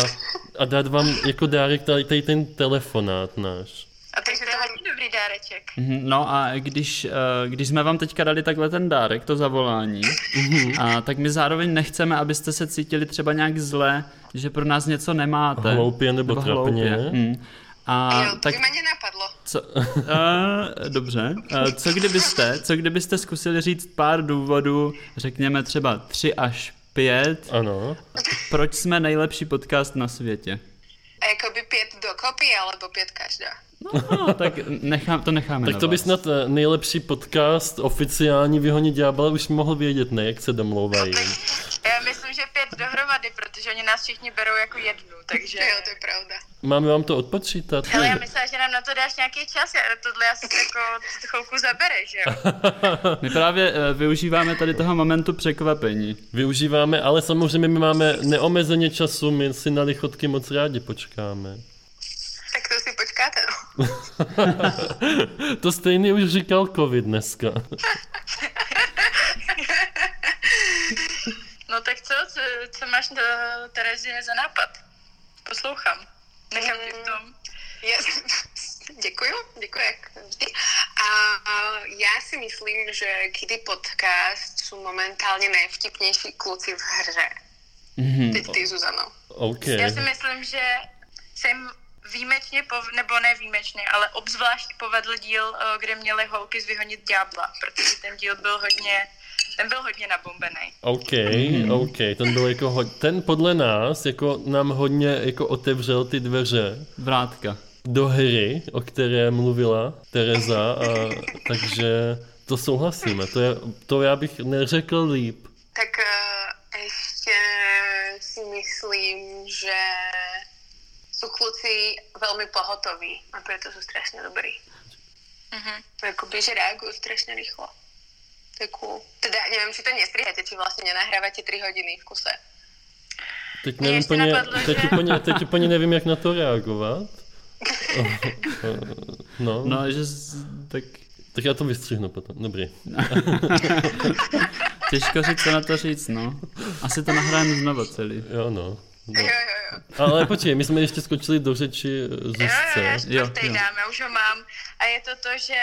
B: a dát vám jako dárek tady, tady ten telefonát náš.
E: A takže to je hodně dobrý dáreček.
F: Mhm, No a když, eh, když jsme vám teďka dali takhle ten dárek, to zavolání,
B: Mhm.
F: a tak my zároveň nechceme, abyste se cítili třeba nějak zle, že pro nás něco nemáte.
B: Hloupě nebo trapně.
F: Mm. A
H: jo, to
F: tak
H: by mě nenapadlo.
F: co, uh, dobře, uh, co kdybyste, co kdybyste zkusili říct pár důvodů, řekněme třeba tři až pět.
B: Ano.
F: Proč jsme nejlepší podcast na světě?
H: A jakoby pět dokopy, alebo pět každá.
F: No, tak nechám, to necháme
B: Tak
F: na
B: to by
F: vás.
B: snad eh, nejlepší podcast oficiální vyhonit ďábla už mohl vědět, ne? Jak se domlouvají.
I: Já myslím, že pět dohromady, protože oni nás všichni berou jako jednu, takže...
H: Jo, to je pravda.
B: Máme vám to odpočítat?
I: Ale já myslela, že nám na to dáš nějaký čas, já- tohle já si jako chvilku zabere, že jo?
F: My právě eh, využíváme tady toho momentu překvapení.
B: Využíváme, ale samozřejmě my máme neomezeně času, my si na lichotky moc rádi počkáme.
H: Tak to si počkáte, no.
B: To stejný už říkal covid dneska.
I: No tak co, co, co máš do Terezie za nápad? Poslouchám. Nechám tě v tom.
H: Já, děkuju, děkuji jak vždy. A, a já si myslím, že Kiddy Podcast jsou momentálně nejvtipnější kluci v hře. Mm-hmm. Teď ty, Zuzano.
B: OK.
I: Já si myslím, že jsem výjimečně, pov- nebo ne výjimečně, ale obzvlášť povedl díl, eh, kde měly holky zvyhonit ďábla, protože ten díl byl hodně, ten byl hodně nabombený.
B: OK, OK, ten byl jako ho, ten podle nás jako nám hodně jako otevřel ty dveře
F: Vrátka.
B: do hry, o které mluvila Tereza, a, takže to souhlasíme, to, je, to já bych neřekl líp.
H: Tak uh, ještě si myslím, že jsou kluci velmi pohotoví a proto jsou strašně dobrý. Mm-hmm. Jakoby, že reagují strašně rychlo. To je cool. Teda nevím, či to nestriháte, či vlastně nenahráváte 3 hodiny v kuse.
B: Teď
I: Mě
B: nevím,
I: ještě
B: úplně,
I: napadlo,
B: teď,
I: že-
B: úplně, teď úplně nevím, jak na to reagovat. No, no.
F: No, že z, tak
B: tak já to vystřihnu potom, dobrý.
F: těžko říct, co na to říct, no. Asi to nahrajeme znova celý.
B: Jo, no. no.
H: Jo, jo, jo.
B: Ale počkej, my jsme ještě skočili do řeči eh,
I: Jo, jo, já
B: Zuzce.
I: čtvrtý
F: jo.
I: dám, já už ho mám. A je to to, že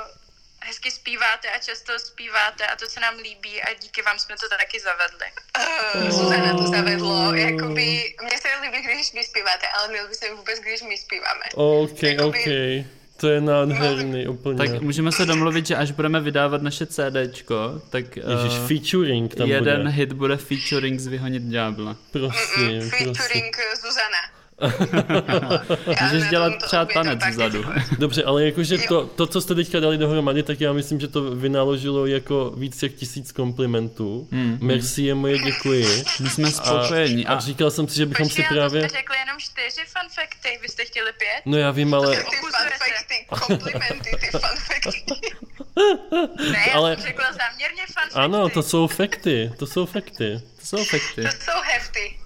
I: uh, hezky zpíváte a často zpíváte a to se nám líbí a díky vám jsme to taky zavedli. Eh,
H: Uh, Zuzana to zavedlo, jakoby,
I: Mm.
H: mně se líbí, když vy zpíváte, ale nelíbí se mi vůbec, když my zpíváme.
B: OK,
I: jako
H: Jakoby-
B: OK. To je
I: No.
B: nádherný úplně.
F: Tak můžeme se domluvit, že až budeme vydávat naše CDčko, tak eh,
B: Ježíš, featuring tam
F: jeden
B: bude.
F: hit bude featuring z Vyhonit ďábla.
B: Prosím, prosím.
H: Mm, Featuring eh, Zuzana. Já na
F: Můžeš
H: tom
F: dělat
H: to
F: třeba
H: obě to
F: tanec
H: pak
F: vzadu.
B: Dobře, ale jakože to, to, co jste teďka dali dohromady, tak já myslím, že to vynaložilo jako víc jak tisíc komplimentů. Mm. Merci je moje, děkuji.
F: My jsme spokojení.
B: A,
F: Mm-hmm. A,
B: a říkal jsem si, že bychom si
I: Počkej, ale to
B: právě...
I: jste řekli jenom čtyři fanfakty, vy jste chtěli pět?
B: No já vím, ale...
H: Ty fanfakty, komplimenty, ty fanfakty.
I: Ne, já
B: Ale-
I: ale... jsem řekla záměrně fanfakty.
B: Ano, to jsou fakty, to jsou fakty.
F: to jsou efekty.
H: To jsou hefty.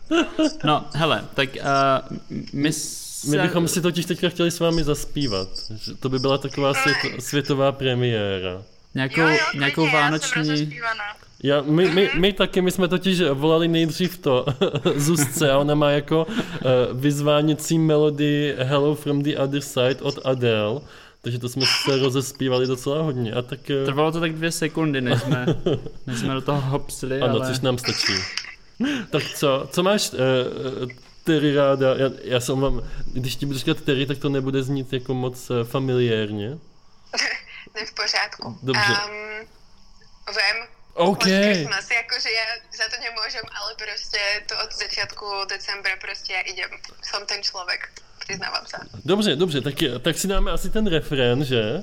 F: No, hele, tak uh, my, se...
B: My bychom si totiž teďka chtěli s vámi zaspívat. Že To by byla taková svět, světová premiéra.
F: nějakou,
I: Jo, jo, klidně,
F: nějakou
I: já jsem
F: vánoční...
I: rozespívaná.
B: Já, my, my, my taky, my jsme totiž volali nejdřív to Zuzce a ona má jako uh, vyzváněcí melodii Hello from the other side od Adele, takže to jsme se rozespívali docela hodně a tak uh,
F: Trvalo to tak dvě sekundy, než jsme, než jsme do toho hopsli,
B: ano,
F: ale...
B: což nám stačí. tak co, co máš uh, Terry ráda, já, já jsem vám, když ti budu říkat Terry, tak to nebude znít jako moc eh, familiérně.
H: Ne v pořádku.
B: Dobře.
H: Um, vem,
B: OK,
H: Christmas, jakože já za to nemůžem, ale prostě to od začátku decembra prostě já idem. Jsem ten člověk, přiznávám se.
B: dobře, dobře, tak, je- tak si dáme asi ten refrén, že?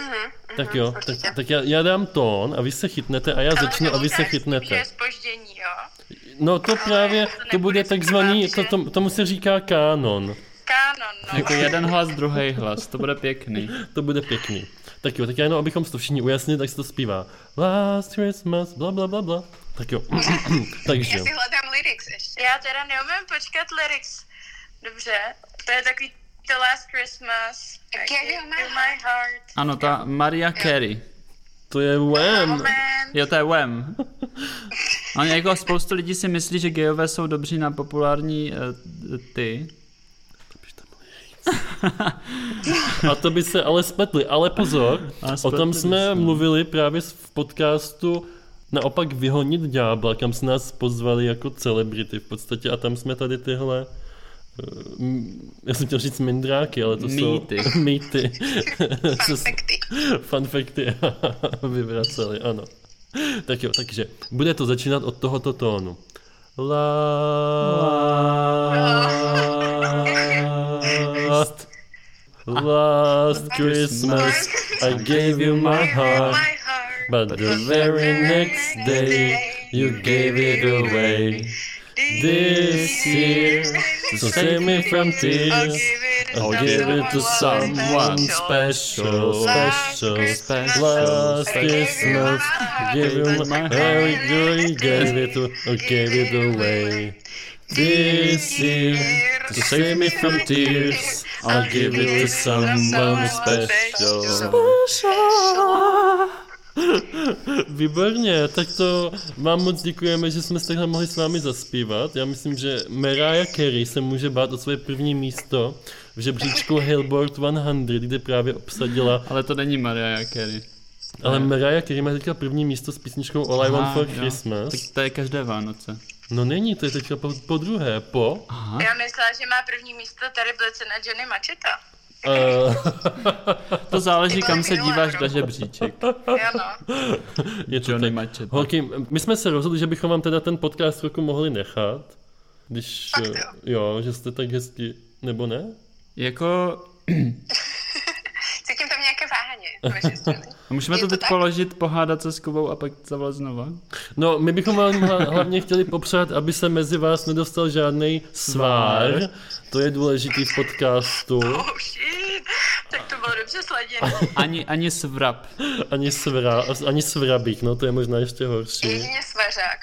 I: Mhm,
B: Tak jo,
H: určitě.
B: tak, tak já, já dám tón a vy se chytnete a já začnu a vy se
I: Počkej, Že
B: chytnete.
I: je spoždění, jo?
B: No to právě,
I: to
B: to
I: nebude
B: bude
I: zpívat,
B: takzvaný,
I: že?
B: to, to, tomu se říká kánon.
I: Kánon, no.
F: Jako jeden hlas, druhý hlas, to bude pěkný.
B: To bude pěkný. Tak jo, tak já jenom, abychom si to všichni ujasnili, tak se to zpívá. Last Christmas, bla bla bla bla. Tak jo, takže.
H: Já si hledám lyrics ještě.
I: Já teda neumím počkat lyrics. Dobře, to je takový The Last Christmas. I
H: gave you my
I: my heart.
F: Ano, ta Maria Carey.
B: To je Wham.
I: Moment.
F: Jo, to je Wham. A jako spoustu lidí si myslí, že gejové jsou dobří na populární uh, ty.
B: A to by se ale spletli. Ale pozor,
F: A
B: o
F: spletli
B: tom
F: by
B: jsme
F: se.
B: mluvili právě s- v podcastu naopak vyhonit ďábla, kam se nás pozvali jako celebrity v podstatě a tam jsme tady tyhle eh, m- já jsem chtěl říct mindráky, ale to jsou
F: Mýty.
B: mýty. Co s-
H: Fanfakty.
B: Fanfakty vyvraceli, ano. Tak jo, takže bude to začínat od tohoto tónu. Last, last Christmas, I gave you my heart,
I: My heart.
B: but the very next day you gave it away. This year, so save me from tears. I'll give it to someone special, special, special. Last Christmas, give you my Harry Dory, gave it, to, gave it away. This year, to save me from tears, I'll give it to someone special. Výborně, tak to vám moc děkujeme, že jsme se takhle mohli s vámi zaspívat. Já myslím, že Mariah Carey se může bát o své první místo v žebříčku Billboard 100, kde právě obsadila.
F: Ale to není Mariah Carey.
B: Ale Mariah Carey má teďka první místo s písničkou All I Want
F: Aha,
B: For
F: jo.
B: Christmas.
F: Tak to je každé Vánoce.
B: No není, to je teďka po, po druhé, po...
F: Aha.
I: Já myslela, že má první místo tady blece na Johnny Macheta.
B: Uh,
F: To záleží, kam se
I: Minulého
F: díváš
I: roku.
F: na žebříček.
I: Jo, no.
B: je to
F: Johnny
B: tak.
F: Macheta.
B: Holky, my jsme se rozhodli, že bychom vám teda ten podcast roku mohli nechat. Když,
H: Fakt
B: eh,
H: jo.
B: jo, že jste tak hezky, nebo ne?
F: Jako,
H: Cítím tam nějaké váhaně z vaší strany.
F: a můžeme
H: Je
F: to
H: to
F: teď
H: tak?
F: položit, pohádat se s Kubou a pak zavolat znova?
B: No, my bychom vám hla- hlavně chtěli popřát, aby se mezi vás nedostal žádný svár. To je důležitý v podcastu.
I: Oh shit. Tak to bylo dobře sladěné.
F: Ani, ani svrap.
B: Ani, svra, ani svrabík, no to je možná ještě horší.
H: Jedině svařák.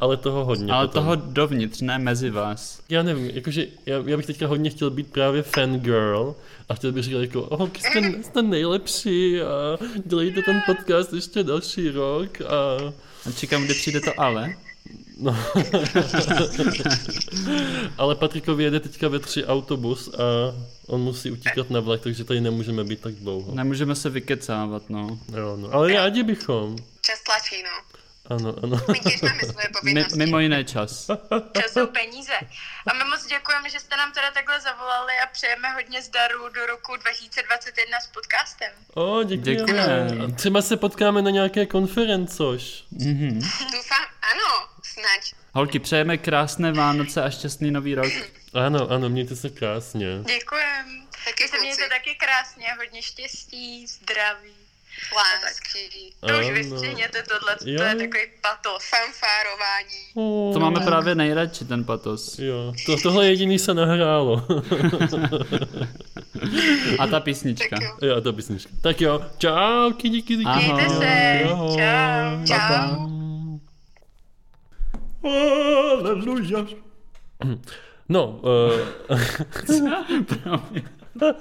B: Ale toho hodně.
F: Ale
B: potom.
F: toho dovnitř, ne mezi vás.
B: Já nevím, jakože já, já bych teďka hodně chtěl být právě fangirl a chtěl bych říkat jako, oh, jste, jste nejlepší a dělejte ten podcast ještě další rok a...
F: A čekám, kdy přijde to ale.
B: No. Ale Patrikovi jede teďka ve tři autobus a on musí utíkat na vlak, takže tady nemůžeme být tak dlouho.
F: Nemůžeme se vykecávat, no.
B: Jo, no. Ale rádi bychom.
H: Čas tlačí, no.
B: Ano, ano.
H: My těž máme svoje
F: Mi,
H: povinnosti.
F: mimo jiné čas.
I: Čas jsou peníze. A my moc děkujeme, že jste nám teda takhle zavolali a přejeme hodně zdaru do roku 2021 s podcastem.
B: O, děkujeme.
F: Děkujeme.
B: A Třeba se potkáme na nějaké konferencoš.
F: Mhm.
H: Doufám, ano, snad.
F: Holky, přejeme krásné Vánoce a šťastný nový rok.
B: Ano, ano, mějte se krásně.
I: Děkujem.
H: Taky
I: Vy se mějte
H: kluci.
I: taky krásně, hodně štěstí, zdraví.
H: Lásky,
I: To už
B: Ano.
I: vystřihněte tohle, to je
B: Jo.
I: takový patos.
H: fanfárování.
F: To máme právě nejradši, ten patos.
B: Jo, to, tohle jediný se nahrálo.
F: A ta písnička.
H: Tak jo.
B: jo, to písnička. Tak jo, čau, díky, díky, díky.
F: Ahoj.
I: Mějte se.
B: Ahoj.
I: Čau.
H: Čau.
B: Aleluja. No, uh,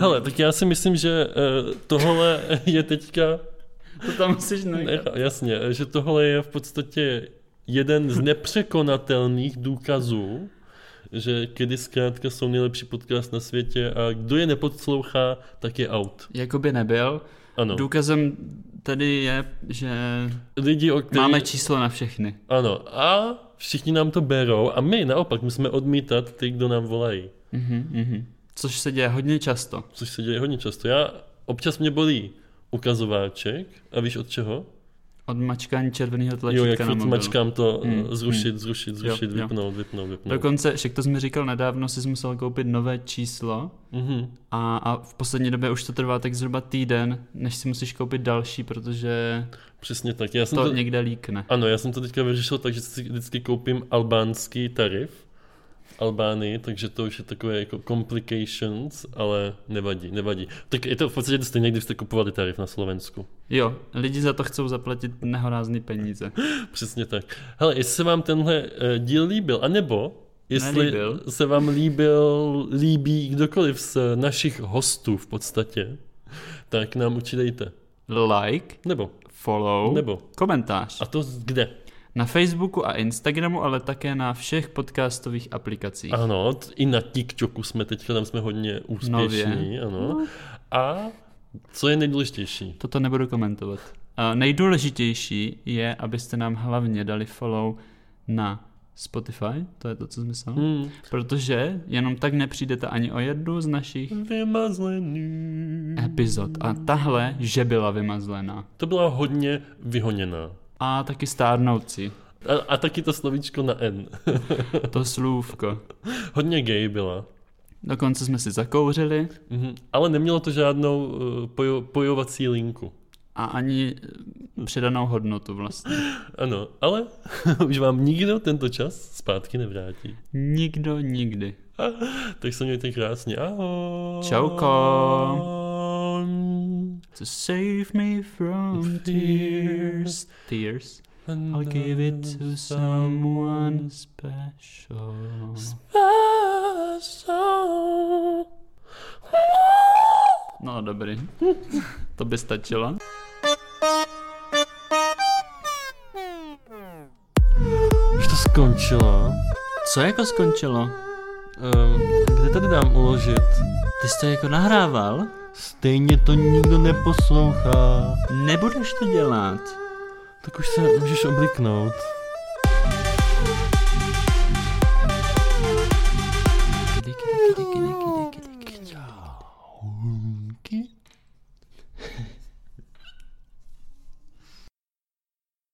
B: hele, tak já si myslím, že uh, tohle je teďka,
F: To tam musíš
B: ne,
F: nechat.
B: jasně, že tohle je v podstatě jeden z nepřekonatelných důkazů, že kdy zkrátka jsou nejlepší podcast na světě a kdo je nepodslouchá, tak je out.
F: Jakoby nebyl.
B: Ano.
F: Důkazem tady je, že
B: Lidi, o který...
F: máme číslo na všechny.
B: Ano, a všichni nám to berou a my naopak musíme odmítat ty, kdo nám volají.
F: Což se děje hodně často.
B: Což se děje hodně často. Já občas mě bolí ukazováček a víš od čeho?
F: Od mačkání červeného
B: Jo,
F: tlačítka
B: jak
F: na
B: furt
F: mobilu.
B: mačkám to
F: Hmm,
B: eh, zrušit, zrušit, zrušit,
F: jo.
B: vypnout, vypnout, vypnout.
F: Dokonce, však to jsi mi říkal nedávno, jsi musel koupit nové číslo
B: Mhm.
F: a, a v poslední době už to trvá tak zhruba týden, než si musíš koupit další, protože
B: Přesně tak. Já jsem
F: to
B: to,
F: někde líkne.
B: Ano, já jsem to teďka vyřešil tak, že si vždycky koupím albánský tarif v Albánii, takže to už je takové jako complications, ale nevadí, nevadí. Tak je to v podstatě stejně, když jste kupovali tarif na Slovensku.
F: Jo, lidi za to chcou zaplatit nehorázný peníze.
B: Přesně tak. Hele, jestli se vám tenhle eh, díl líbil, anebo jestli
F: Nelíbil.
B: se vám líbil, líbí kdokoliv z našich hostů v podstatě, tak nám určitě dejte.
F: Like,
B: Nebo.
F: follow,
B: Nebo.
F: komentář.
B: A to z- kde?
F: Na Facebooku a Instagramu, ale také na všech podcastových aplikacích.
B: Ano, t- i na TikToku jsme teďka, tam jsme hodně úspěšní.
F: Nově. No.
B: Ano. A co je nejdůležitější?
F: Toto nebudu komentovat. A nejdůležitější je, abyste nám hlavně dali follow na Spotify, to je to, co myslel,
B: Hmm.
F: protože jenom tak nepřijdete ani o jednu z našich
B: Vymazlený.
F: epizod a tahle, že byla vymazlená.
B: To byla hodně vyhoněná.
F: A taky stárnoucí.
B: A, a taky to slovíčko na N.
F: To slůvko.
B: hodně gay byla.
F: Dokonce jsme si zakouřili
B: Mhm. Ale nemělo to žádnou eh, pojo, pojovací linku.
F: a ani eh, přidanou hodnotu vlastně.
B: Ano, ale už vám nikdo tento čas zpátky nevrátí.
F: Nikdo nikdy.
B: Tak se mějte krásně. Ahoj.
F: Čauko. To save me from tears. Tears. I'll give it to someone special. No dobrý. To by stačilo.
B: Už to skončilo.
F: Co jako skončilo?
B: Um, kde tady dám uložit?
F: Ty jsi to jako nahrával?
B: Stejně to nikdo neposlouchá.
F: Nebudeš to dělat.
B: Tak už se můžeš obliknout.